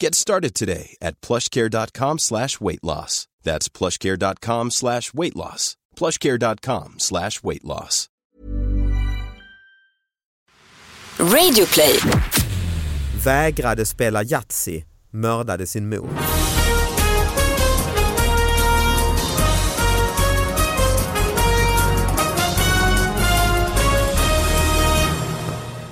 Get started today at plushcare.com slash weight loss. That's plushcare.com slash weight loss. plushcare.com slash weight loss. Radioplay. Vägrade spela Yatzy, mördade sin mor.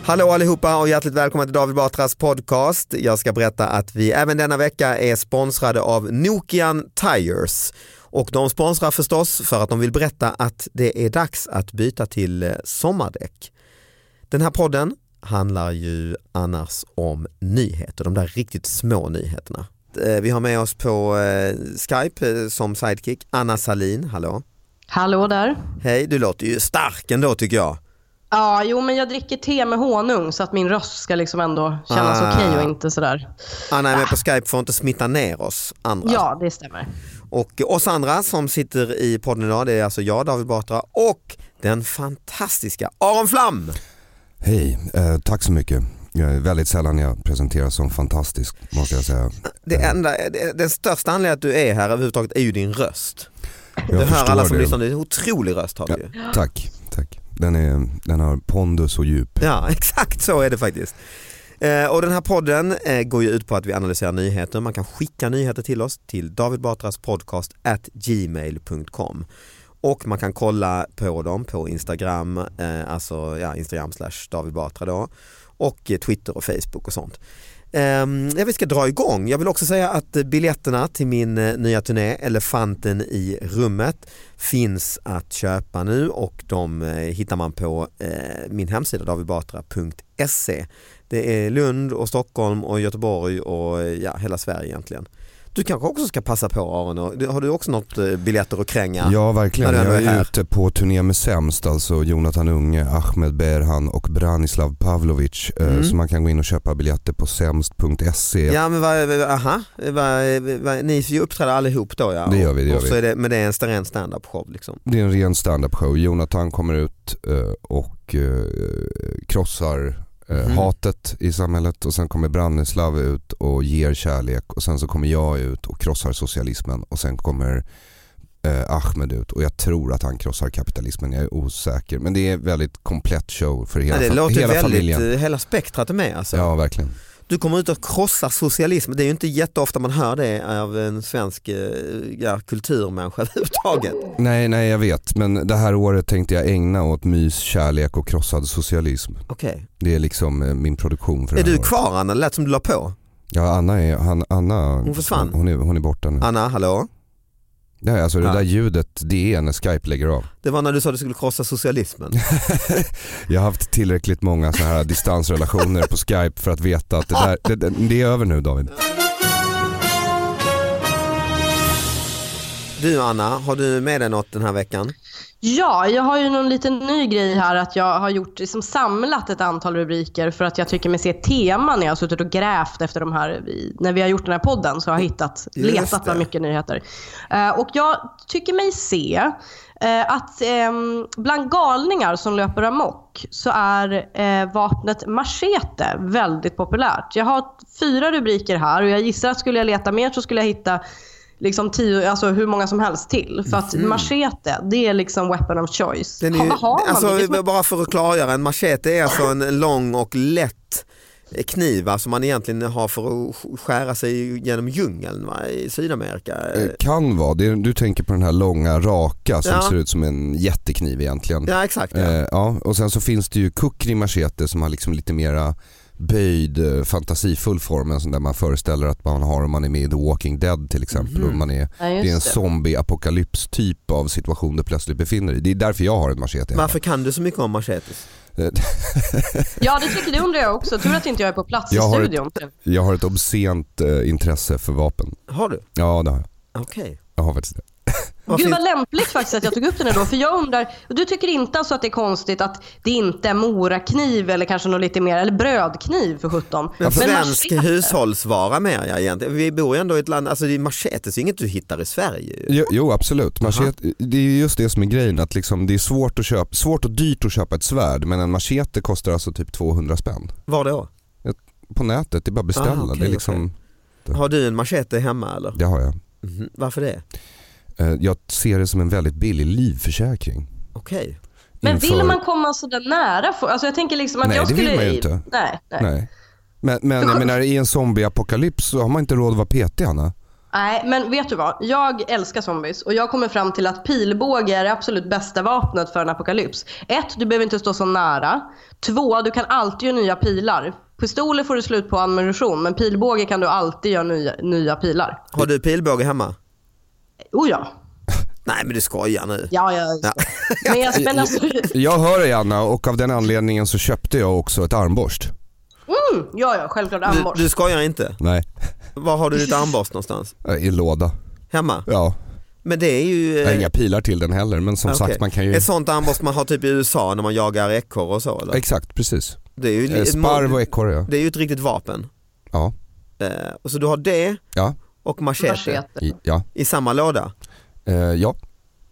Hallå allihopa och hjärtligt välkomna till David Batras podcast. Jag ska berätta att vi även denna vecka är sponsrade av Nokian Tires. Och de sponsrar förstås för att de vill berätta att det är dags att byta till eh, sommardäck. Den här podden handlar ju annars om nyheter, de där riktigt små nyheterna. Eh, Vi har med oss på eh, Skype eh, som sidekick Anna Salin, hallå. Hallå där. Hej, du låter ju stark ändå tycker jag. Ja, jo men jag dricker te med honung så att min röst ska liksom ändå kännas Ah. okej och inte sådär. Anna är med på Skype för att inte smitta ner oss andra. Ja, det stämmer. Och oss andra som sitter i podden idag, det är alltså jag David Batra och den fantastiska Aron Flam. Hej, eh, tack så mycket. Jag är väldigt sällan jag presenteras som fantastisk måste jag säga. Det Eh, enda, det, den största anledningen att du är här överhuvudtaget är ju din röst. jag du hör förstår alla som det. lyssnar, det är en otrolig röst har du ju. Tack, tack. Den, är, den har pondus och djup. Ja, exakt så är det faktiskt. Eh, Och den här podden eh, går ju ut på att vi analyserar nyheter. Man kan skicka nyheter till oss till davidbatraspodcast@gmail.com och man kan kolla på dem på Instagram, eh, alltså ja, Instagram slash davidbatra då och eh, Twitter och Facebook och sånt. Ehm, Ja, vi ska dra igång. Jag vill också säga att eh, biljetterna till min eh, nya turné Elefanten i rummet finns att köpa nu och de eh, hittar man på eh, min hemsida davidbatra.se. Det är Lund och Stockholm och Göteborg och eh, ja, hela Sverige egentligen. Du kanske också ska passa på Aron, och- du- har du också något eh, biljetter att kränga? Ja verkligen, När du jag ändå är är här. ute på turné med Sämst, alltså Jonathan Unge, Ahmed Berhan och Branislav Pavlovic. eh, Mm. Så man kan gå in och köpa biljetter på sämst.se. Ja men vad, vad- aha, vad, vad, ni får ju uppträda allihop då ja. Det gör vi, det gör och så vi. Är det, men det är en ren stand-up show liksom. Det är en ren stand-up show. Jonathan kommer ut eh, och eh, krossar eh, Mhm. hatet i samhället och sen kommer Branislav ut och ger kärlek och sen så kommer jag ut och krossar socialismen och sen kommer eh, Ahmed ut och jag tror att han krossar kapitalismen, jag är osäker. Men det är en väldigt komplett show för hela, Ja, det fa- låter hela väldigt, familjen. eh, hela spektrat är med alltså. Ja verkligen. Du kommer ut och krossar socialism. Det är ju inte jätteofta man hör det av en svensk eh, ja, kulturmänniska överhuvudtaget. Nej, nej jag vet men det här året tänkte jag ägna åt mys, kärlek och krossad socialism. Okej. Det är liksom eh, min produktion för Är det här du året. kvar Anna? Det lät som du la på. Ja Anna är, han, Anna, Hon försvann. Hon är, hon är borta nu. Anna, hallå? Nej, alltså det Ja. där ljudet det är när Skype lägger av. Det var när du sa att du skulle krossa socialismen. Jag har haft tillräckligt många så här distansrelationer på Skype för att veta att det, där, det- det, det är över nu David. Du Anna, har du med dig något den här veckan? Ja, jag har ju någon liten ny grej här att jag har gjort, liksom samlat ett antal rubriker för att jag tycker mig se ett tema när jag har suttit och grävt efter de här, när vi har gjort den här podden så har jag hittat, Just letat bland det. mycket nyheter. Eh, Och jag tycker mig se eh, att ehm, bland galningar som löper amok så är eh, vapnet machete väldigt populärt. Jag har fyra rubriker här och jag gissar att skulle jag leta mer så skulle jag hitta liksom tio, alltså hur många som helst till. För att Mm. Mhm. machete, det är liksom weapon of choice. Den är ju, Vad har man alltså, det? Det är som- Bara för att klargöra, en machete är alltså en lång och lätt eh, kniv va, som man egentligen har för att skära sig genom djungeln va, i Sydamerika. Eh, Kan vara, det är, du tänker på den här långa raka som Ja. ser ut som en jättekniv egentligen. Ja, exakt, ja. Eh, ja. Och sen så finns det ju kukri machete som har liksom lite mera böjd eh, fantasifull form, en sån där man föreställer att man har om man är med i The Walking Dead till exempel. Mhm. Och man är, Ja, det just är en det. zombie-apokalyps typ av situation du plötsligt befinner dig i. Det är därför jag har en machete. Varför kan du så mycket om machetes? Ja, det tycker du undrar jag också. Tur att inte jag är på plats Jag i har, studion. ett, jag har ett obscent eh, intresse för vapen. Har du? Ja det har jag. Okej. Jag har faktiskt det. Gud vad lämpligt faktiskt att jag tog upp den här då. För jag undrar, du tycker inte alltså att det är konstigt att det inte är morakniv eller kanske något lite mer, eller brödkniv för sjutton. Men svensk machete- hushållsvara mer jag egentligen. Vi bor ju ändå i ett land, alltså det är machetes är inget du hittar i Sverige. Jo, jo absolut, machete, det är ju just det som är grejen. Att liksom, det är svårt, att köpa, svårt och dyrt att köpa ett svärd men en machete kostar alltså typ 200 spänn. Var då? Ett- På nätet, det är bara att beställa. Ah, okej, det är liksom, Har du en machete hemma eller? Det har jag. Mhm. Varför det? Eh, Jag ser det som en väldigt billig livförsäkring. Okej. Men vill Inför- man komma sådär nära? folk? Alltså jag tänker liksom att Nej, jag det skulle... vill man ju inte. Nej, nej. nej. Nej. Men, men jag menar i en zombieapokalyps så har man inte råd att vara petig Anna. men vet du vad? Jag älskar zombies och jag kommer fram till att pilbåge är det absolut bästa vapnet för en apokalyps. Ett, du behöver inte stå så nära. Två, du kan alltid göra nya pilar. Pistoler får du slut på ammunition, men pilbåge kan du alltid göra nya, nya pilar. Har du pilbåge hemma? Oh ja. Nej men du skojar nu. Ja, ja. Ja. Men, jag, men alltså, Jag hör dig Anna och av den anledningen så köpte jag också ett armborst. mm, ja, ja, självklart armborst. Du, du skojar inte? Nej. Var har du ditt armborst någonstans? Eh, I låda. Hemma? Ja. Men det är ju... Jag har inga pilar till den heller men som Eh. Ah, Okej. sagt man kan ju... Ett sånt armborst man har typ i USA när man jagar ekorre och så eller? Exakt, precis. Det är ju Eh, ett Sparv mod- och ekorre ja. Det är ju ett riktigt vapen. Ja. Eh, och så du har det Ja. och machete, I, ja. i samma låda? Eh, ja.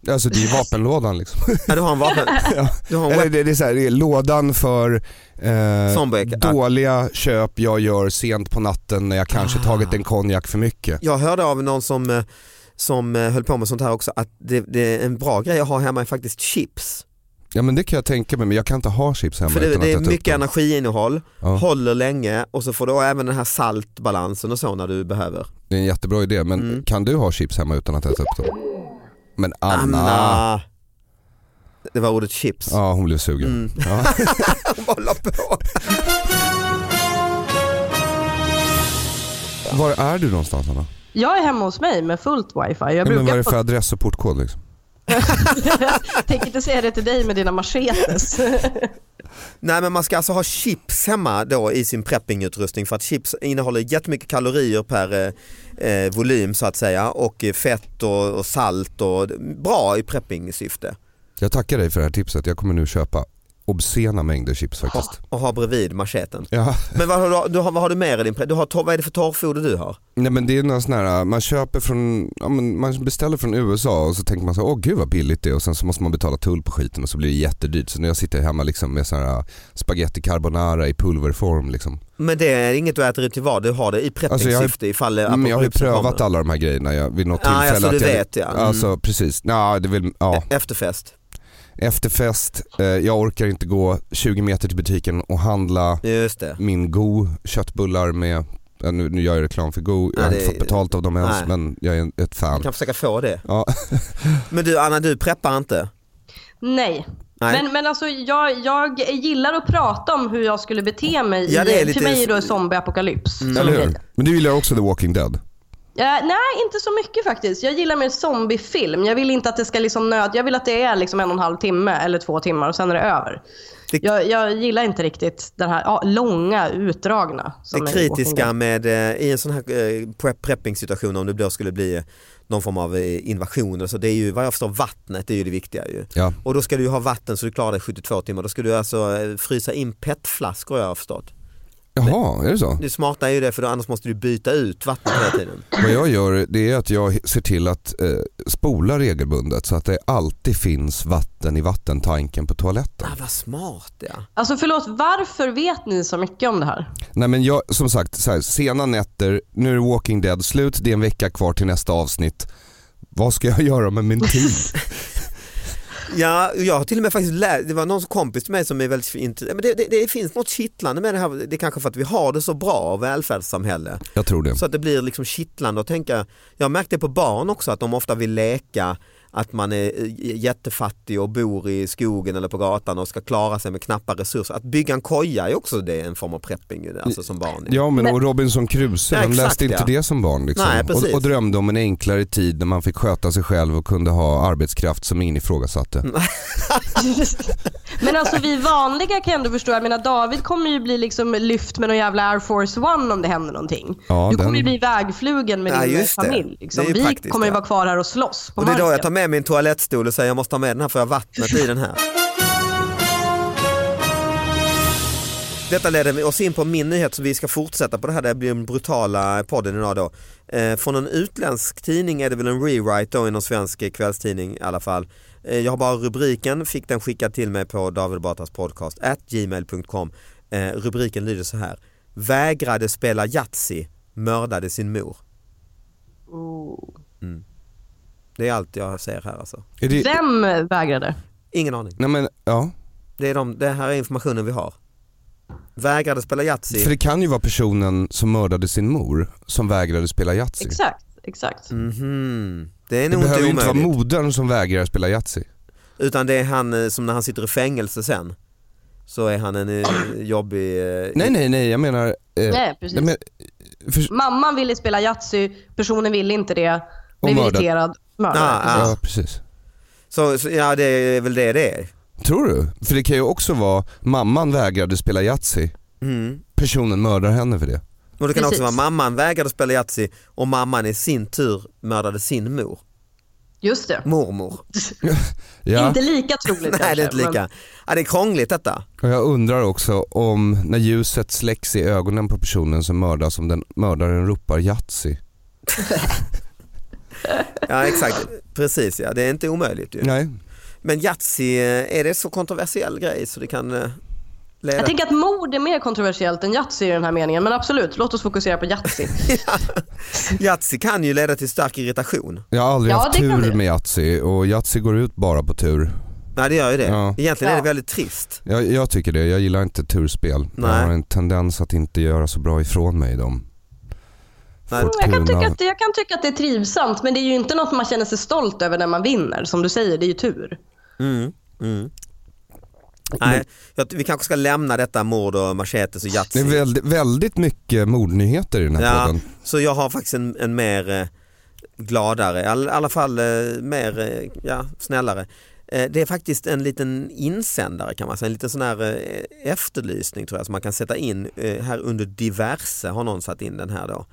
Alltså det är ju vapenlådan liksom. Ja, du har en vapen. Du har en Eller det, det, är så här, det är lådan för Zombie- eh, dåliga köp jag gör sent på natten när jag Ah. kanske tagit en konjak för mycket. Jag hörde av någon som, eh, som eh, höll på med sånt här också att det, det är en bra grej att ha hemma är faktiskt chips. Ja men det kan jag tänka mig men jag kan inte ha chips hemma För det, utan det är att äta upp mycket dem. energiinnehåll, Ja. håller länge och så får du även den här saltbalansen och så när du behöver. Det är en jättebra idé men kan du ha chips hemma utan att äta upp dem? Men Anna. Anna. Det var ordet chips. Ja hon blev sugen. Ja. Var är du någonstans Anna? Jag är hemma hos mig med fullt wifi. Jag Ja, men vad är brukar det för få... adress och portkod liksom? Jag tänker inte säga det till dig med dina machetes. Nej men man ska alltså ha chips hemma då i sin preppingutrustning för att chips innehåller jättemycket kalorier per eh, eh, volym så att säga och eh, fett och, och salt och bra i preppingsyfte. Jag tackar dig för det här tipset. Jag kommer nu köpa obscena mängder chips faktiskt. Och ha bredvid macheten. Ja. Men vad har, du, du har, vad har du mer i din pre- du har, torr- Vad är det för torrfoder du har? Nej men det är någon sån här, man köper från, ja, men man beställer från USA och så tänker man så här, åh gud vad billigt det är och sen så måste man betala tull på skiten och så blir det jättedyrt. Så nu jag sitter hemma liksom med sån här spaghetti carbonara i pulverform liksom. Men det är inget du äter till vad, du har det i Alltså, jag har- preppingsyfte ifall det- Men jag har ju apokalypsen prövat kommer. alla de här grejerna jag, vid något Ja, tillfälle. alltså, att du jag, vet, ja. Mm. Alltså precis, Nja, det är väl, ja. Efterfest. Efterfest, eh, jag orkar inte gå 20 meter till butiken och handla min Go köttbullar med, ja, nu, nu gör jag reklam för Go, jag Ja, har det- inte fått betalt av dem ens nej. men jag är en- ett fan. Du kan försöka få det. Ja. Men du Anna, du preppar inte? Nej. Nej. Men, men alltså jag, jag gillar att prata om hur jag skulle bete mig. Ja, i- det är lite- Mm, För mig är det zombieapokalyps. som Eller hur? grej. Men du gillar också The Walking Dead? Eh, nej, inte så mycket faktiskt. Jag gillar mer zombiefilm. Jag vill inte att det ska liksom nöd... Jag vill att det är liksom en och en halv timme eller två timmar och sen är det över. Jag, jag gillar inte riktigt den här ja, långa, utdragna. som det är i Walking Dead. kritiska med, eh, i en sån här eh, pre- prepping situation om det då skulle bli någon form av eh, invasioner. Så det är ju vad jag förstår vattnet det är ju det viktiga ju. Ja. Och då ska du ju ha vatten så du klarar dig 72 timmar. Då ska du alltså eh, frysa in petflaskor jag har förstått. Jaha, är det så? Det smarta är ju det för då, annars måste du byta ut vattnet hela tiden. Vad jag gör det är att jag ser till att eh, spola regelbundet så att det alltid finns vatten i vattentanken på toaletten. Ah, vad smart ja. Alltså förlåt, varför vet ni så mycket om det här? Nej men jag, som sagt, så här, sena nätter, nu är Walking Dead slut, det är en vecka kvar till nästa avsnitt. Vad ska jag göra med min tid? Ja, jag har till och med faktiskt läst, det var någon kompis till mig som är väldigt intresserad, men det, det, det finns något kittlande med det här, det är kanske för att vi har det så bra, välfärdssamhälle. Jag tror det. Så att det blir liksom kittlande att tänka, jag märkte på barn också att de ofta vill leka att man är eh, jättefattig och bor i skogen eller på gatan och ska klara sig med knappa resurser. Att bygga en koja är också det, en form av prepping ju, alltså som barn. Ja men och Robinson Crusoe, Ja, vem exakt, läste inte ja. det som barn? Liksom? Nej, och, precis. och drömde om en enklare tid när man fick sköta sig själv och kunde ha arbetskraft som ingen ifrågasatte. Men alltså vi vanliga kan ändå förstå, jag menar David kommer ju bli liksom lyft med någon jävla Air Force One om det händer någonting. Ja, du kommer den- ju bli vägflugen med Ja, din just det. familj. Liksom. Det är ju Vi praktiskt, kommer ju ja. vara kvar här och slåss på Och det är då jag marken. tar med min toalettstol och säger jag måste ha med den här för jag har vattnet i den här. Detta leder oss in på min nyhet så vi ska fortsätta på det här, det blir den brutala podden idag då. Eh, från en utländsk tidning är det väl en rewrite då i någon svensk kvällstidning i alla fall. Eh, jag har bara rubriken, fick den skickad till mig på David Batras podcast at gmail.com. Eh, rubriken lyder så här. Vägrade spela Yatzy, mördade sin mor. Det är allt jag ser här alltså. Är det, Vem vägrade? Ingen aning. nej, men, ja. Det, är de, det här är informationen vi har. Vägrade spela Yatzy. För det kan ju vara personen som mördade sin mor som vägrade spela Yatzy. Exakt, exakt. Mhm. Det är Det nog inte behöver ju inte vara omöjligt. modern som vägrar spela Yatzy. utan det är han eh, som när han sitter i fängelse sen. Så är han en eh, jobbig... eh, Nej nej nej, jag menar... eh, Nej, precis. men, för, Mamman ville spela Yatzy, personen ville inte det, blev mördad. irriterad, mördad. Ah, ah. ja, precis. Så, så, ja det är väl det det är. Tror du? För det kan ju också vara mamman vägrade spela Yatzy, Mm. personen mördar henne för det. Och det kan också Precis. vara mamman vägrade spela Yatzy och mamman i sin tur mördade sin mor. Just det. Mormor. Ja. Inte lika troligt Nej det kanske, är inte lika. men- Ja, det är krångligt detta. Och jag undrar också om när ljuset släcks i ögonen på personen som mördas om den mördaren ropar Yatzy. Ja exakt, precis ja. Det är inte omöjligt ju. Nej. Men Yatzy, eh, är det så kontroversiell grej så det kan eh, leda Jag tänker att mord är mer kontroversiellt än Yatzy i den här meningen, men absolut, låt oss fokusera på Yatzy. Yatzy kan ju leda till stark irritation. Jag har aldrig Ja, haft det kan tur det. med Yatzy och Yatzy går ut bara på tur. Nej det gör ju det. Ja. Egentligen är det Ja. väldigt trist. Jag, jag tycker det, jag gillar inte turspel. Nej. Jag har en tendens att inte göra så bra ifrån mig i dem. Nej. Får Alltså, Jag kan, turen tycka av- att, det- jag kan tycka att det är trivsamt, men det är ju inte något man känner sig stolt över när man vinner. Som du säger, det är ju tur. Mm. Mm. Nej, jag, vi kanske ska lämna detta mord och machetes och Det är Yatzy. väldigt, väldigt mycket mordnyheter i den här Ja, podden. så jag har faktiskt en, en mer eh, gladare, i all, alla fall eh, mer eh, ja, snällare. Eh, det är faktiskt en liten insändare kan man säga, en liten sån här eh, efterlysning tror jag som man kan sätta in eh, här under diverse har någon satt in den här då.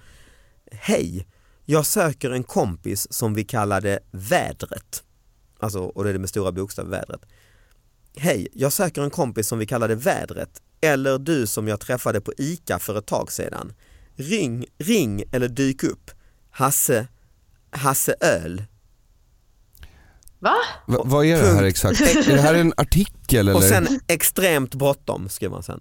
Hej, jag söker en kompis som vi kallade vädret. Alltså, och det är det med stora bokstäver, vädret. Hej, jag söker en kompis som vi kallade vädret eller du som jag träffade på ICA för ett tag sedan. Ring, ring eller dyk upp. Hasse, Hasse Öl. Va? Va, vad är det här Punkt. exakt? Är det här en artikel eller? Och sen extremt bråttom skriver man sen.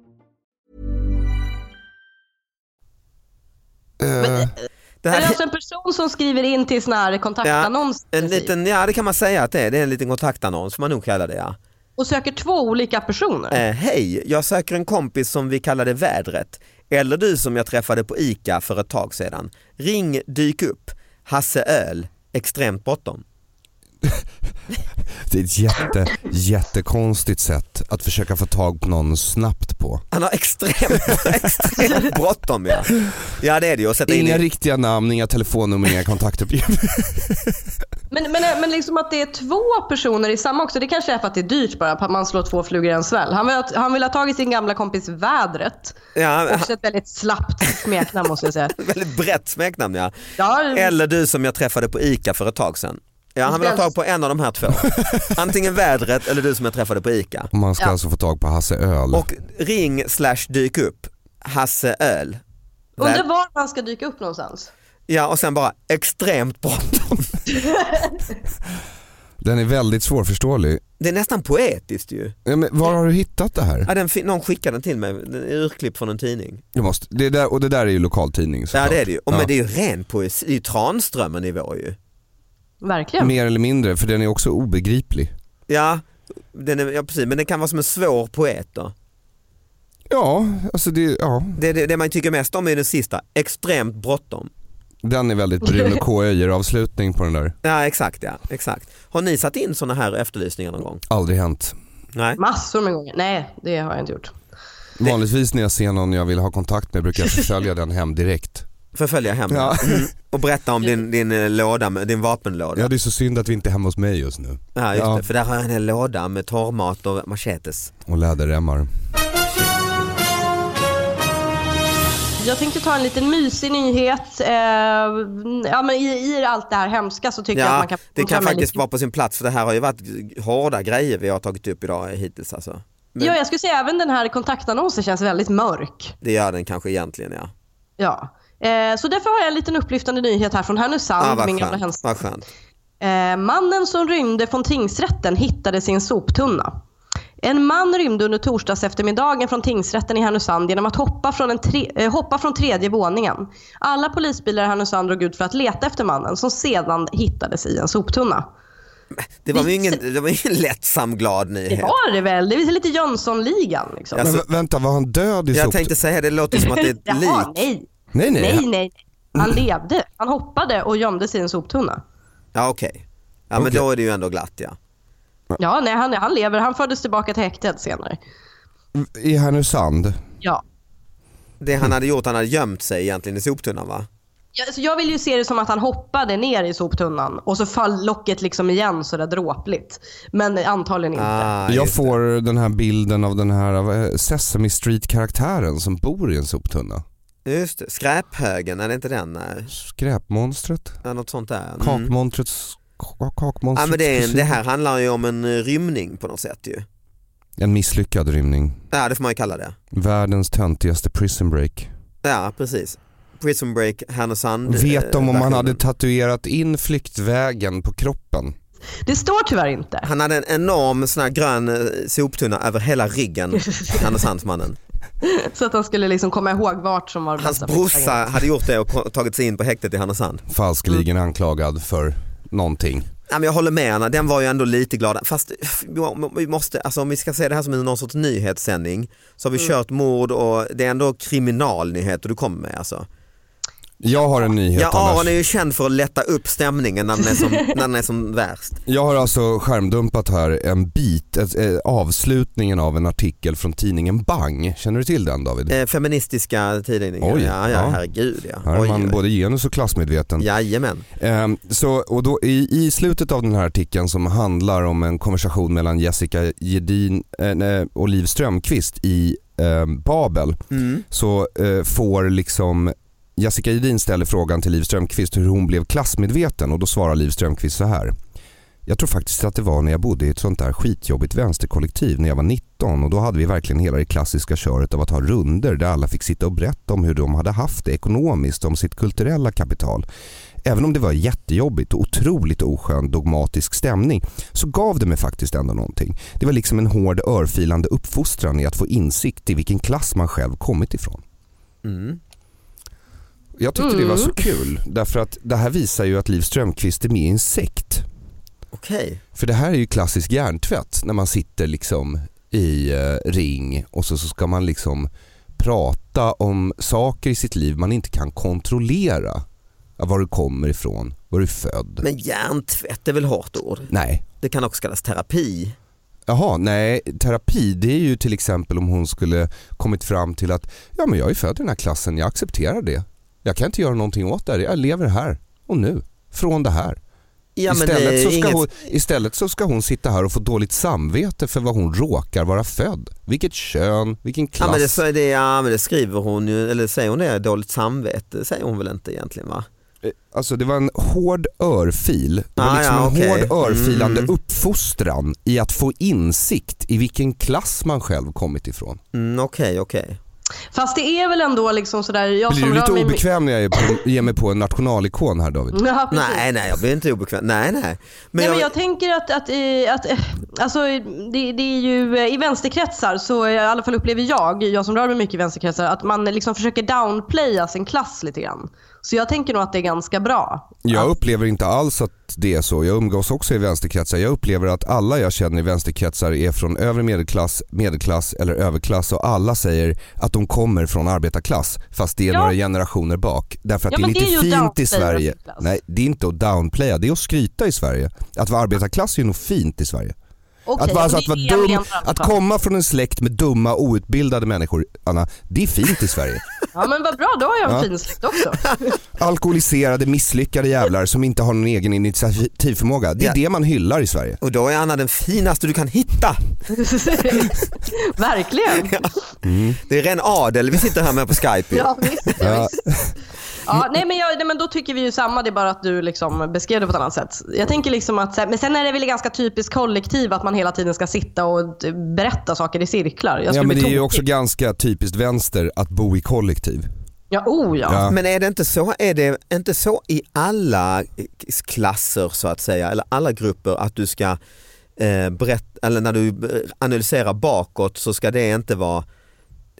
Eh, det är det här, alltså en person som skriver in till sån här kontaktannons typ. en liten, ja det kan man säga att det är, det är en liten kontaktannons får man nog kalla det ja. och söker två olika personer? Eh, Hej, jag söker en kompis som vi kallade vädret. Eller du som jag träffade på ICA för ett tag sedan. Ring, dyk upp. Hasse Öl, extremt bråttom. Det är ett jätte, jättekonstigt sätt att försöka få tag på någon snabbt på. Han har extremt, extremt bråttom ja. Ja det är det ju. att sätta in Inga i- riktiga namn, inga telefonnummer, inga kontaktuppgifter. Men, men, men liksom att det är två personer i samma också, det kanske är för att det är dyrt bara, för att man slår två flugor i en sväll. Han vill, ha- han vill ha tagit sin gamla kompis Vädret. Ja, Också ett väldigt slappt smeknamn måste jag säga. väldigt brett smeknamn ja. Ja, Eller du som jag träffade på ICA för ett tag sedan. Ja, han vill ha tag på en av de här två. Antingen vädret eller du som jag träffade på ICA. Och Man ska alltså få tag på Hasse Öl. Och ring slash dyk upp, Hasse Öl. undrar var man ska dyka upp någonstans. Ja och sen bara extremt bråttom. Den är väldigt svårförståelig. Det är nästan poetiskt ju. Ja, men var har du hittat det här? Ja, den, fi- någon skickade den till mig, den är urklipp från en tidning. Du måste, det där, och det där är ju lokaltidning Ja såklart. det är det ju, och men Ja. det är ju ren poesi, det är ju Tranströmer-nivå ju. Verkligen. Mer eller mindre, för den är också obegriplig. Ja, den är, ja precis, men den kan vara som en svår poet då. Ja, alltså det, ja. Det, det, det man tycker mest om är den sista, extremt bråttom. Den är väldigt Bruno K. Öijer-avslutning på den där. Ja exakt ja, exakt. Har ni satt in sådana här efterlysningar någon gång? Aldrig hänt. Nej. Massor med gånger. Nej, det har jag inte gjort. Vanligtvis när jag ser någon jag vill ha kontakt med brukar jag förfölja den hem direkt. Förfölja hem Ja. Mm. och berätta om din, din eh, låda, med, din vapenlåda. Ja det är så synd att vi inte är hemma hos mig just nu. Ja, just Ja. Det, för där har jag en hel låda med torrmat och machetes. Och läderremmar. Jag tänkte ta en liten mysig nyhet. Eh, ja, men i, I allt det här hemska så tycker jag att Ja, man kan... det ta kan med faktiskt lite- vara på sin plats för det här har ju varit hårda grejer vi har tagit upp idag hittills alltså. Men Ja, jag skulle säga även den här kontaktannonsen känns väldigt mörk. Det gör den kanske egentligen ja. Ja. Eh, så därför har jag en liten upplyftande nyhet här från Härnösand. Ah, vad min gamla skönt. hemstad. Vad skönt. Eh, mannen som rymde från tingsrätten hittade sin soptunna. En man rymde under torsdags eftermiddagen från tingsrätten i Härnösand genom att hoppa från, en tre, eh, hoppa från tredje våningen. Alla polisbilar i Härnösand drog ut för att leta efter mannen som sedan hittades i en soptunna. Det var ju ingen, det var ju ingen lättsam glad nyhet. Det var det väl? Det är lite Jönssonligan. Liksom. Men vä- vänta, var han död i Jag soptunnan? tänkte säga det låter som att det är ett Jaha, lik. nej. Nej nej. Nej, nej. Han levde. Han hoppade och gömde sig i en soptunna. Ja okej. Ja men Okej. då är det ju ändå glatt ja. Ja, nej, han, han lever. Han fördes tillbaka till häktet senare. I Härnösand. Ja. Det Mm. han hade gjort, han hade gömt sig egentligen i soptunnan va? Jag, så jag vill ju se det som att han hoppade ner i soptunnan och så föll locket liksom igen sådär dråpligt. Men antagligen inte. Ah, jag just det. får den här bilden av den här vad är- Sesame Street-karaktären som bor i en soptunna. Just det. Skräphögen, är det inte den? Nej. Skräpmonstret? Ja, något sånt där. Mm. Kakmonstrets ka- Ja, kakmonstrets men det, är, kusin. det här handlar ju om en eh, rymning på något sätt ju. En misslyckad rymning. Ja det får man ju kalla det. Världens töntigaste prison break. Ja precis. Prison Break Härnösand. Vet de eh, om han hade versionen. tatuerat in flyktvägen på kroppen? Det står tyvärr inte. Han hade en enorm sån här grön eh, soptunna över hela ryggen, Härnösandsmannen. Så att han skulle liksom komma ihåg vart som var Hans bästa brorsa flyktvägen. hade gjort det och pro- tagit sig in på häktet i Härnösand. Falskligen Mm. anklagad för någonting. Ja, men jag håller med Anna, den var ju ändå lite glad. Fast vi måste, alltså, om vi ska se det här som någon sorts nyhetssändning så har Mm. vi kört mord och det är ändå kriminalnyheter du kommer med alltså. Jag har en nyhet Ja, Anders. Aron är ju känd för att lätta upp stämningen när den är som, när den är som värst. Jag har alltså skärmdumpat här en bit, ett, eh, avslutningen av en artikel från tidningen Bang. Känner du till den David? Eh, feministiska tidningar, Oj, ja, ja, ja. herregud ja. Här är Oj, man oj. både genus och klassmedveten. Jajamän. Ehm, så, och då, i, I slutet av den här artikeln som handlar om en konversation mellan Jessica Gedin eh, nej, och Liv ehm, Strömquist i eh, Babel så eh, får liksom Jessica Jedin ställer frågan till Liv Strömquist hur hon blev klassmedveten och då svarar Liv Strömquist så här. Jag tror faktiskt att det var när jag bodde i ett sånt där skitjobbigt vänsterkollektiv när jag var 19 och då hade vi verkligen hela det klassiska köret av att ha runder där alla fick sitta och berätta om hur de hade haft det ekonomiskt, om sitt kulturella kapital. Även om det var jättejobbigt och otroligt oskön dogmatisk stämning så gav det mig faktiskt ändå någonting. Det var liksom en hård örfilande uppfostran i att få insikt i vilken klass man själv kommit ifrån. Mm. Jag tyckte det var så kul därför att det här visar ju att Liv Strömquist är med i en sekt. Okej. För det här är ju klassisk hjärntvätt när man sitter liksom i eh, ring och så, så ska man liksom prata om saker i sitt liv man inte kan kontrollera. Ja, Var du kommer ifrån, var du är född. Men hjärntvätt är väl hårt ord? Nej. Det kan också kallas terapi. Jaha, nej terapi det är ju till exempel om hon skulle kommit fram till att ja men jag är född i den här klassen, jag accepterar det. Jag kan inte göra någonting åt det här, jag lever här och nu, från det här. Ja, men det istället, är så ska inget- hon, istället så ska hon sitta här och få dåligt samvete för vad hon råkar vara född. Vilket kön, vilken klass. Ja men, det, så- det, ja men det skriver hon ju, eller säger hon det, dåligt samvete säger hon väl inte egentligen va? Alltså det var en hård örfil. Det var Ah, liksom ja, en okej. hård örfilande Mm. uppfostran i att få insikt i vilken klass man själv kommit ifrån. Mm, Okej okej. Fast det är väl ändå liksom sådär, jag Blir som du lite rör mig... obekväm när jag är på, ger mig på en nationalikon här David? Ja, precis. Nej nej jag blir inte obekväm, nej nej. Men Nej, jag, men jag tänker att, att, i- att eh, alltså, det, det är ju eh, i vänsterkretsar, så eh, i alla fall upplever jag, jag som rör mig mycket i vänsterkretsar, att man eh, liksom försöker downplaya sin klass lite grann. Så jag tänker nog att det är ganska bra. Jag upplever inte alls att det är så. Jag umgås också i vänsterkretsar. Jag upplever att alla jag känner i vänsterkretsar är från övre medelklass, medelklass eller överklass och alla säger att de kommer från arbetarklass fast det är Ja. några generationer bak. Därför att Ja, det är men lite det är ju fint i downplay Sverige. arbetarklass. Nej, det är inte att downplaya, det är att skryta i Sverige. Att vara arbetarklass är nog fint i Sverige. Okej, att, vara, alltså, och att, det är vara det jag dum, menar i alla att fall. komma från en släkt med dumma outbildade människor, Anna, det är fint i Sverige. Ja men vad bra, då har jag en Ja. fin släkt också. Alkoholiserade, misslyckade jävlar som inte har någon egen initiativförmåga. Det är Ja. det man hyllar i Sverige. och då är Anna den finaste du kan hitta. Verkligen. Det är ren adel vi sitter här med på skype. ju. Ja, visst. Ja. Ja, nej, men jag, nej men då tycker vi ju samma, det är bara att du liksom beskrev det på ett annat sätt. Jag tänker liksom att, så här- men sen är det väl ganska typiskt kollektiv att man hela tiden ska sitta och eh, berätta saker i cirklar. Jag Ja, skulle men bli det är ju tokig. också ganska typiskt vänster att bo i kollektiv. Ja, oh ja. Ja. Men är det, inte så, är det inte så i alla eh, klasser så att säga, eller alla grupper att du ska eh, berätta, eller när du eh, analyserar bakåt så ska det inte vara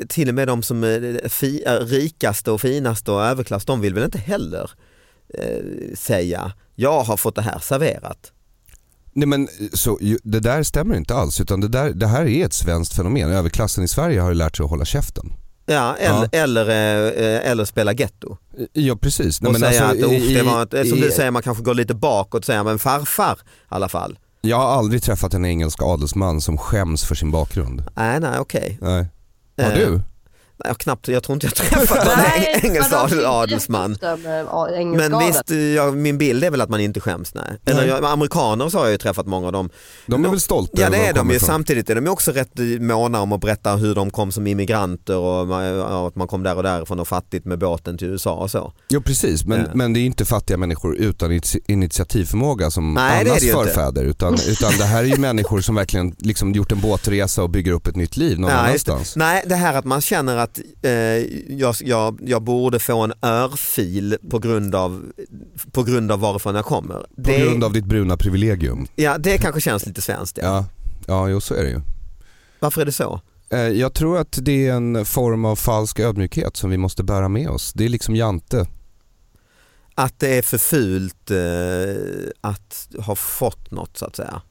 till och med de som är eh, fi, är rikaste och finaste och överklass, de vill väl inte heller eh, säga jag har fått det här serverat. Nej men så, ju- det där stämmer inte alls utan det, där, det här är ett svenskt fenomen. Överklassen i Sverige har ju lärt sig att hålla käften. Ja, eller, Eller, eh, eller spela getto. Eh, Ja precis. Och säga alltså, att, i- "Uff, det var, ett-" som i- du säger, man kanske går lite bakåt och säger men farfar i alla fall. Jag har aldrig träffat en engelsk adelsman som skäms för sin bakgrund. Nej, nej okej. Nej. Har Eh, du? Nej, Jag, knappt, jag tror inte jag träffat någon Nej, eng- engelsk vadå, adel- inte adelsman. jättestöm, eh, engelsk Men adel. visst, jag, min bild är väl att man inte skäms. Nej. Eller, jag, amerikaner så har jag ju träffat många av dem. De är väl stolta Ja över det var de är de kommer ju. ifrån. Samtidigt är de ju också rätt måna om att berätta hur de kom som immigranter och ja, att man kom där och därifrån och fattigt med båten till USA och så. Jo precis, men, Eh. men det är inte fattiga människor utan initi- initiativförmåga som Nej, det är Annas det ju inte. förfäder. Utan, utan det här är ju människor som verkligen liksom gjort en båtresa och bygger upp ett nytt liv någon Ja, just det. annanstans. Nej, det här att man känner att eh, jag, jag, jag borde få en örfil på grund av, på grund av varifrån jag kommer. På det, grund av ditt bruna privilegium. ja, det kanske känns lite svenskt. Ja. Ja, ja jo, så är det ju. Varför är det så? Eh, Jag tror att det är en form av falsk ödmjukhet som vi måste bära med oss. Det är liksom Jante. Att det är för fult eh, att ha fått något så att säga.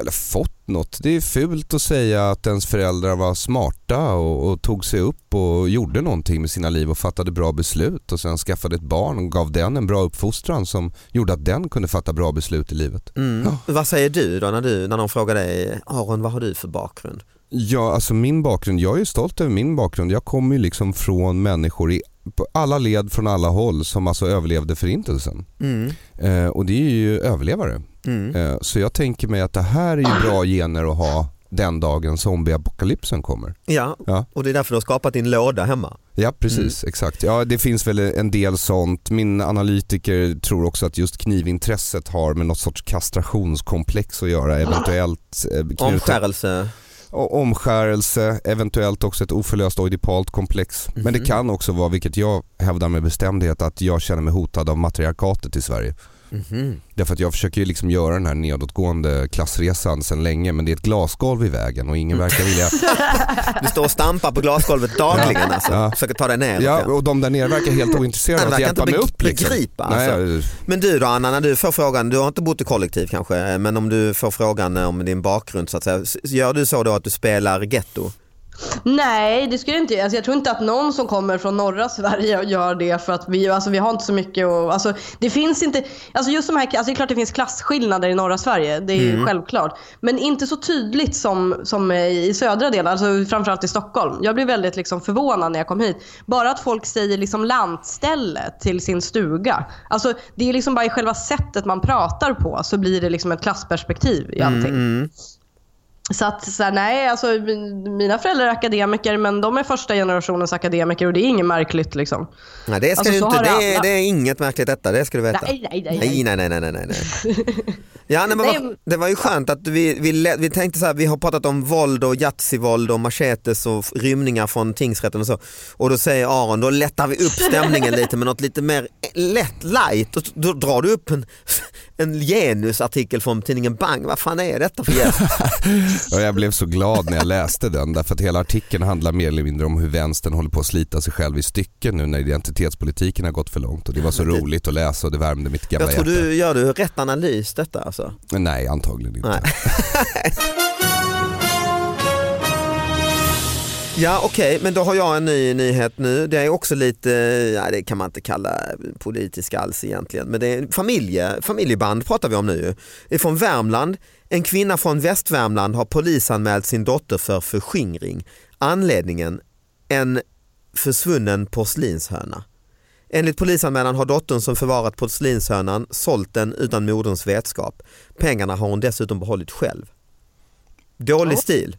Eller fått något. Det är fult att säga att ens föräldrar var smarta och, och tog sig upp och gjorde någonting med sina liv och fattade bra beslut och sen skaffade ett barn och gav den en bra uppfostran som gjorde att den kunde fatta bra beslut i livet. Mm. Ja. Vad säger du då när, du när någon frågar dig, Aron vad har du för bakgrund? Ja, alltså min bakgrund. Jag är ju stolt över min bakgrund. Jag kommer ju liksom från människor i på alla led från alla håll som alltså överlevde förintelsen. Mm. Eh, och det är ju överlevare. Mm. Eh, så jag tänker mig att det här är ju bra gener att ha den dagen zombieapokalypsen kommer. Ja, Ja. och det är därför du har skapat din låda hemma. Ja Mm. precis, exakt. Ja, det finns väl en del sånt. Min analytiker tror också att just knivintresset har med något sorts kastrationskomplex att göra. Eventuellt eh, knutet- Ah. Omskärelse. O- omskärelse, eventuellt också ett oförlöst oidipalt komplex. Men Mhm. det kan också vara, vilket jag hävdar med bestämdhet, att jag känner mig hotad av matriarkatet i Sverige. Mhm. Därför att jag försöker ju liksom göra den här nedåtgående klassresan sedan länge men det är ett glasgolv i vägen och Mm. ingen verkar vilja Du står och stampar på glasgolvet dagligen Ja. alltså. Ja. Försöker ta dig ner. Ja, och de där nere verkar helt ointresserade Han av att verkar inte hjälpa mig beg- upp. Liksom. begripa, alltså. Nej, Men du då Anna, när du får frågan, du har inte bott i kollektiv kanske, eh, men om du får frågan eh, om din bakgrund så att säga, s- gör du så då att du spelar getto? Nej, det skulle jag inte alltså, Jag tror inte att någon som kommer från norra Sverige gör det för att vi, alltså, vi har inte så mycket och, alltså, Det finns inte, alltså just de här, alltså, det är klart det finns klasskillnader i norra Sverige. Det är ju Mm. självklart. Men inte så tydligt som, som i södra delen, alltså framförallt i Stockholm. Jag blev väldigt liksom, förvånad när jag kom hit. Bara att folk säger liksom lantställe till sin stuga. Alltså det är liksom bara i själva sättet man pratar på så blir det liksom ett klassperspektiv i allting. Mm. Så att så här, nej, alltså, min- mina föräldrar är akademiker men de är första generationens akademiker och det är inget märkligt. Liksom. Nej, det, ska Alltså, du så inte, har det, det är, alla. det är inget märkligt detta, det ska du veta. Nej, nej, nej, nej. nej. nej, nej, nej, nej, nej. Ja, nej, men Nej, vad, det var ju skönt att vi, vi, lä- vi tänkte så här, vi har pratat om våld och jazzivåld och machetes och f- rymningar från tingsrätten och så. Och då säger Aron, då lättar vi upp stämningen lite med något lite mer lätt light. Och då drar du upp en, en genusartikel från tidningen Bang. Vad fan är detta för gäst? Och jag blev så glad när jag läste den därför att hela artikeln handlar mer eller mindre om hur vänstern håller på att slita sig själv i stycken nu när identitetspolitiken har gått för långt och det var så roligt att läsa och det värmde mitt gamla Jag tror hjärta. du gör du rätt analys detta alltså. Nej antagligen inte. Ja okej, men då har jag en ny nyhet nu. Det är också lite, ja, det kan man inte kalla politisk alls egentligen, men det är familje, familjeband pratar vi om nu. ju. Det är från Värmland. En kvinna från Västvärmland har polisanmält sin dotter för förskingring. Anledningen, en försvunnen porslinshöna. Enligt polisanmälan har dottern som förvarat porslinshönan sålt den utan moderns vetskap. Pengarna har hon dessutom behållit själv. Dålig stil. Eh,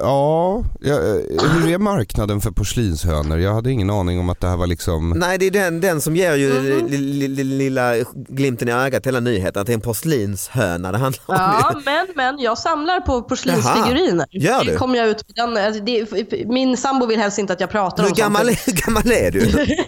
Ja, ja, eh, hur är marknaden för porslinshönor? Jag hade ingen aning om att det här var liksom... Nej det är den, den som ger ju Mhm. li- li- li- lilla glimten i ögat hela nyheten att det är en porslinshöna det handlar om. Ja, men, men jag samlar på porslinsfiguriner. Jaha, gör du? Det kommer jag ut med den. Alltså, det, min sambo vill helst inte att jag pratar Hur om sånt. gammal, hur gammal är du?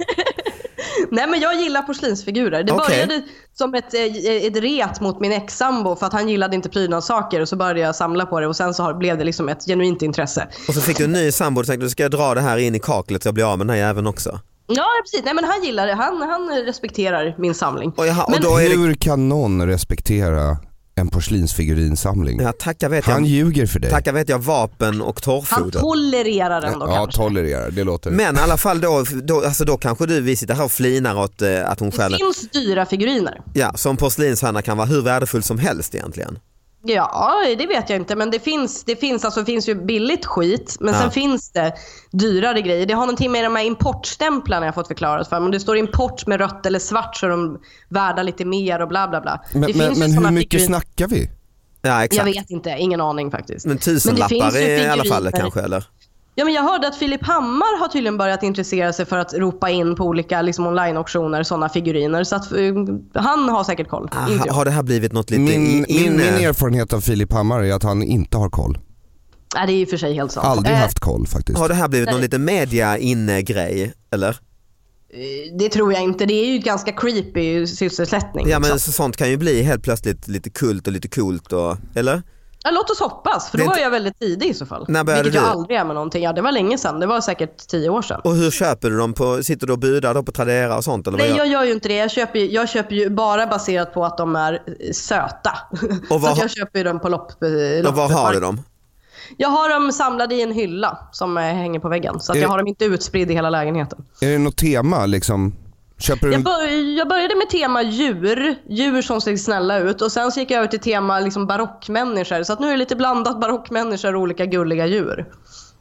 Nej, men jag gillar porslinsfigurer. Det Okej. började som ett, eh, ett ret mot min ex-sambo för att han gillade inte prydnadssaker och så började jag samla på det och sen så har- blev det liksom ett genuint intresse. Och så fick du en ny sambo och tänkte du ska jag dra det här in i kaklet så jag blir av med den här jäveln också. Ja, precis. Nej, men han gillar det. Han, han respekterar min samling. och då är det- Hur kan någon respektera en porslinsfigurinsamling? Ja, tacka vet Han jag- ljuger för dig. Tacka vet jag vapen och Han torrfoder. tolererar den då Ja, kanske. tolerera. Det låter... Men i alla fall då, då, alltså då kanske du, vi sitter här och flinar åt eh, att hon Det stjäl finns dyra figuriner. Ja, som porslinshöna kan vara hur värdefull som helst egentligen. Ja, det vet jag inte. Men det finns, det finns, alltså, det finns ju billigt skit, men Ja. sen finns det dyrare grejer. Det har någonting med de här importstämplarna jag fått förklarat för mig. Om det står import med rött eller svart så är de värda lite mer och bla bla bla. Men, det men, finns ju men såna typ- hur mycket figurin- snackar vi? Ja, exakt. Jag vet inte, ingen aning faktiskt. Men Men det tusenlappar finns ju i alla fall figuriner. kanske eller? Ja, men jag hörde att Filip Hammar har tydligen börjat intressera sig för att ropa in på olika liksom, online-auktioner sådana figuriner. Så att, eh, han har säkert koll. Inte Aha, jag. Ah, har det här blivit något lite Min, in, min, min inne? erfarenhet av Filip Hammar är att han inte har koll. Nej, det är i och för sig helt sant. Aldrig Eh, haft koll faktiskt. Har det här blivit någon Nej. liten media inne grej eller? Det tror jag inte. Det är ju ett ganska creepy sysselsättning. Ja men liksom. så, sånt kan ju bli helt plötsligt lite kult och lite coolt och, eller? ja, låt oss hoppas, för då Det är var inte- jag väldigt tidig i så fall. När började Vilket jag du? aldrig är med någonting. Ja, det var länge sedan. Det var säkert tio år sedan. Och hur köper du dem? På, sitter du och budar dem på Tradera och sånt eller vad Nej, gör jag gör ju inte det. Jag köper ju, jag köper ju bara baserat på att de är eh, söta. Och vad så att har- jag köper ju dem på lopp, eh, du? Och var loppet. har du dem? Jag har dem samlade i en hylla som eh, hänger på väggen. Så att Är- jag har dem inte utspridda i hela lägenheten. Är det något tema liksom? Köper du... Jag, bör, jag började med tema djur, djur som ser snälla ut och sen så gick jag över till tema liksom barockmänniskor. Så att nu är det lite blandat barockmänniskor och olika gulliga djur.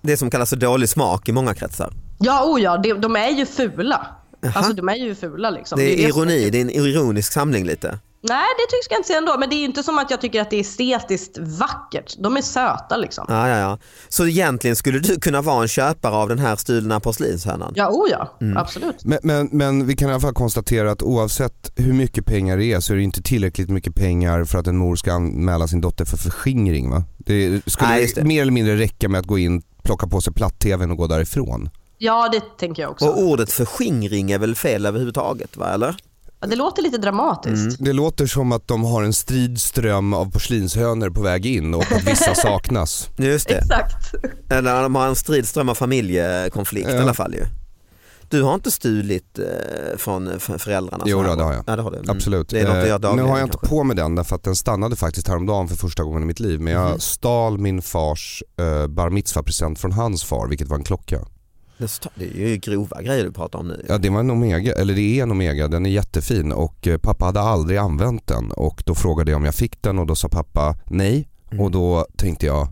Det som kallas för dålig smak i många kretsar. Ja, oh ja, de, de är ju fula. Alltså de är ju fula liksom. Det är som- ironi, det är en ironisk samling lite. Nej, det tycker jag inte säga ändå. Men det är ju inte som att jag tycker att det är estetiskt vackert. De är söta liksom. Ja, ja, ja. Så egentligen skulle du kunna vara en köpare av den här stulna porslinshörnan? Ja, oh ja. Mm. Absolut. Men, men, men, vi kan i alla fall konstatera att oavsett hur mycket pengar det är så är det inte tillräckligt mycket pengar för att en mor ska anmäla sin dotter för förskingring va? Det skulle Nej, just det. mer eller mindre räcka med att gå in, plocka på sig platt-tvn och gå därifrån. Ja, det tänker jag också. Och ordet förskingring är väl fel överhuvudtaget va, eller? Ja, Det låter lite dramatiskt. Mm, Det låter som att de har en strid ström av porslinshönor på väg in och att vissa saknas. Just det. Exakt. Eller de har en stridström av familjekonflikt i Ja. alla fall ju. Du har inte stulit eh, från eh, f- föräldrarna? Jo, så här då, det va? har jag. Ja, det har du. Mm. Absolut. Det är något du Eh, gör dagligen nu har jag inte kanske. på mig den därför att den stannade faktiskt häromdagen för första gången i mitt liv. Men jag Mhm. stal min fars eh, bar mitzva-present från hans far vilket var en klocka. Det sta- Det är ju grova grejer du pratar om nu. Ja det var en Omega, eller det är en Omega, den är jättefin och eh, pappa hade aldrig använt den och då frågade jag om jag fick den och då sa pappa nej och Mm. då tänkte jag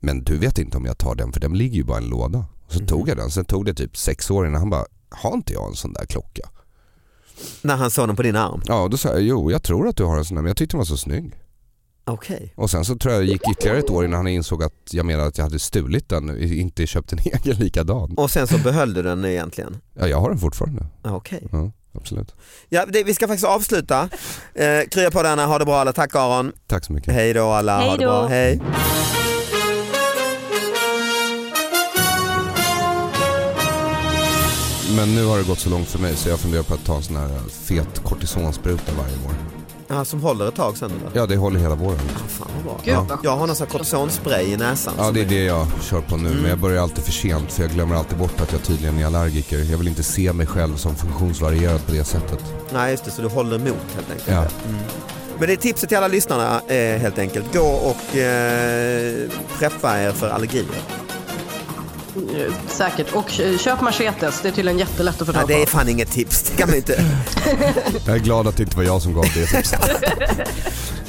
men du vet inte om jag tar den för den ligger ju bara i en låda. Och Mhm. så tog jag den, sen tog det typ sex år innan han bara har inte jag en sån där klocka? När han såg den på din arm? Ja och då sa jag jo jag tror att du har en sån där men jag tyckte den var så snygg. Okej. Och sen så tror jag det gick ytterligare ett år innan han insåg att jag menade att jag hade stulit den, inte köpt en egen likadan. Och sen så behöll du den egentligen? Ja, jag har den fortfarande. Ja, Okej. Ja, absolut. Ja, det, vi ska faktiskt avsluta. Eh, krya på denna, ha det bra alla. Tack Aron. Tack så mycket. Hej då alla, ha Hej det då. bra. Hej. Men nu har det gått så långt för mig så jag funderar på att ta en sån här äh, fet kortisonspruta varje vår. Ja, som håller ett tag sen eller? Ja, det håller hela våren. Fan vad bra. Gud, vad Ja. Jag har någon sån här kortisonspray i näsan. Ja, det är det jag kör på nu. Men jag börjar alltid för sent för jag glömmer alltid bort att jag tydligen är allergiker. Jag vill inte se mig själv som funktionsvarierad på det sättet. Nej just det, så du håller emot helt enkelt. Ja. Men det är tipset till alla lyssnarna eh, helt enkelt. Gå och eh, preppa er för allergier. Eh, Säkert. Och eh, köp machetes. Det är tydligen jättelätt att få Nej, tag på. det är fan inget tips. Det kan man inte. Jag är glad att det inte var jag som gav det tipset.